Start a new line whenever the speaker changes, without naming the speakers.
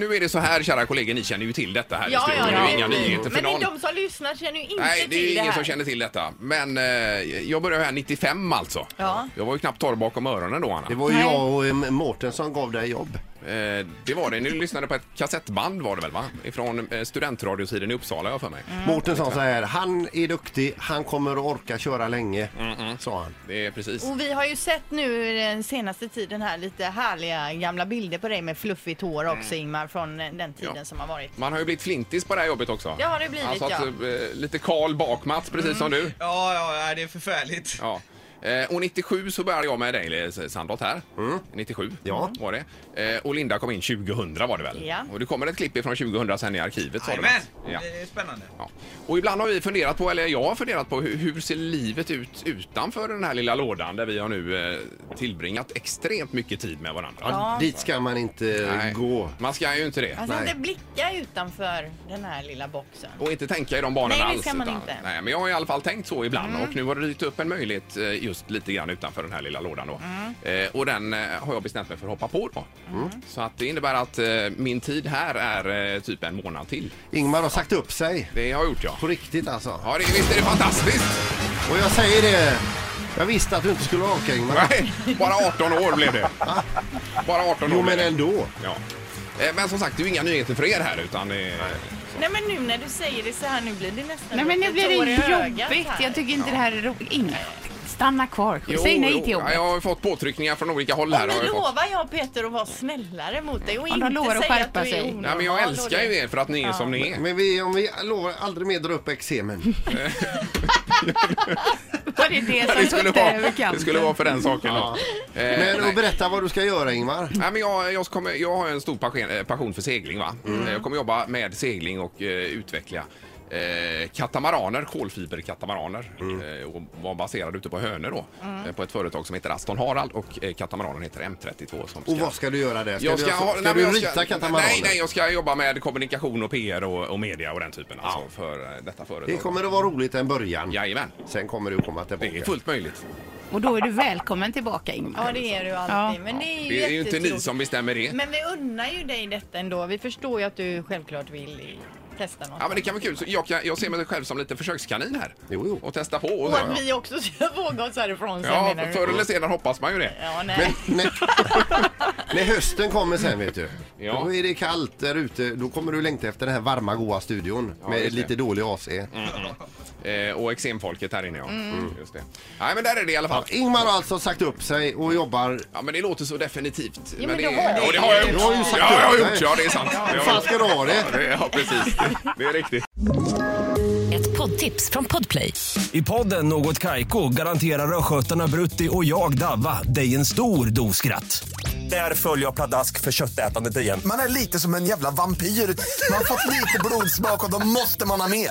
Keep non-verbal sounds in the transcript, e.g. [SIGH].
nu är det så här, kära kollegor, ni känner ju till detta här
Ja,
i
ja,
studion.
ja.
Det är inga nyheter för
Men
någon.
de som lyssnar känner ju inte
Nej, det är
till det
ingen
här.
som känner till detta. Men eh, jag började här 95 alltså.
Ja.
Jag var ju knappt torr bakom öronen då, Anna.
Det var ju
Nej.
jag och eh, Mårten som gav dig jobb.
Eh, det var det. Ni lyssnade på ett kassettband var det väl, va? Ifrån eh, studentradiosidan i Uppsala, har jag för mig.
Mm.
Mårten sa så här, han är duktig, han kommer att orka köra länge, sa han.
Det är precis.
Och vi har ju sett nu den senaste tiden här lite härliga gamla bilder på dig med fluffigt hår också Ingmar från den tiden
Mm. Ja.
som har varit.
Man har ju blivit flintis på det här jobbet också.
Det har det blivit,
alltså, att,
ja. Mm.
eh, Lite Karl Bakmats, precis som du.
Ja, ja, ja, det är förfärligt.
Ja. Eh, och 97 så började jag med dig, eh, Sandholt, här. 97
Ja.
var det. Eh, och Linda kom in 2000 var det väl?
Ja.
Och det kommer ett klipp ifrån 2000 sen i arkivet. sa du,
Jajamän!
va? Ja.
Det är spännande.
Ja. Och ibland har vi funderat på, eller jag har funderat på, hur, hur ser livet ut utanför den här lilla lådan där vi har nu eh, tillbringat extremt mycket tid med varandra.
Ja.
Dit ska man inte eh,
Nej,
gå.
Man ska ju inte det.
Man ska
Nej.
inte blicka utanför den här lilla boxen.
Och inte tänka i de banorna
Nej, det
alls.
ska man inte. Mm.
Nej, men jag har i alla fall tänkt så ibland och nu har det dykt upp en möjlighet eh, just lite grann utanför den här lilla lådan då.
Mm.
Eh, och den eh, har jag bestämt mig för att hoppa på då. Mm. Så att det innebär att eh, min tid här är eh, typ en månad till.
Ingmar har sagt upp sig.
Det har jag gjort ja.
På riktigt alltså.
Ja, det, visst är det fantastiskt?
Och jag säger det, jag visste att du inte skulle orka Ingmar.
Nej, bara 18 år blev det. Bara 18 år
Jo
blev
men
det.
ändå.
Ja. Eh, Men som sagt, det är ju inga nyheter för er här utan det är...
Nej men nu när du säger det så här nu blir det nästan
Nej men
lite
nu blir
tår i
det
ögat
jobbigt.
här.
Jag tycker inte det här är roligt. Inga. Stanna kvar. Säg nej till
Ja,
jobbet.
jag har ju fått påtryckningar från olika håll här.
Och
har
nu
jag fått.
lovar jag Peter att vara snällare mot dig och
Ja, de
inte
lovar att
säga att
skärpa
du är
sig.
onormal.
Nej, men jag älskar ju er för att ni är som ni är.
Men vi, om vi lovar aldrig mer dra upp eksemen.
Eh,
Var det det
det
som
skulle,
tuttade
vara,
över
det
kanten?
skulle vara för den saken. då. Eh,
Men och
nej.
berätta vad du ska göra Ingmar.
Nej, men jag, jag, kommer, jag har en stor passion, eh, passion för segling. Va?
Mm.
Eh, Jag kommer jobba med segling och eh, utveckla eh, katamaraner, kolfiberkatamaraner.
Mm.
Eh, och var baserad ute på Hönö då, eh, på ett företag som heter Aston Harald och eh, katamaranen heter M32. Som ska,
Och vad ska du göra där? Ska,
jag ska,
du,
ha-
ska
nej, men
du
jag
rita katamaraner?
Nej, nej, jag ska jobba med kommunikation och PR och, och media och den typen alltså, för eh, detta företag.
Det kommer att vara roligt en början.
Jajamän,
Sen kommer du komma
det är
tillbaka.
fullt möjligt.
Och då är du välkommen tillbaka Ingmar.
Ja det är du alltid.
Ja.
Men det är ju,
Det är ju inte ni
jättetråkigt.
som bestämmer det.
Men vi unnar ju dig detta ändå. Vi förstår ju att du självklart vill i- testa något.
Ja, men det kan vara kul. Så jag, kan, jag ser mig själv som lite försökskanin här.
Jo, jo.
Och testa på. Och,
Och att vi också ska [LAUGHS] våga oss härifrån sen
ja,
menar du?
förr eller senare hoppas man ju det.
Ja, nej.
Men, när, [LAUGHS] när hösten kommer sen vet du.
Ja.
Då är det kallt där ute. Då kommer du längta efter den här varma goa studion.
just
med
det. Mm.
lite dålig AC.
Eh, och exemfolket här inne, ja. Mm. Just det. Nej, men där är det i alla fall.
Ja, Ingmar har alltså sagt upp sig och jobbar.
Ja, men det låter så definitivt.
men
det,
du har det.
ja, det har jag
Du
gjort.
har ju sagt
ja, jag har
upp
gjort.
dig.
Ja, det är sant. Det har
Hur
jag
fan
gjort.
ska du ha det?
Ja, det- Ja, precis. Det- Det är riktigt.
Ett poddtips från Podplay.
I podden Något Kaiko garanterar östgötarna Brutti och jag, Davva, dig en stor dos skratt. Där följer jag pladask för köttätandet igen.
Man är lite som en jävla vampyr. Man har fått lite blodsmak och då måste man ha mer.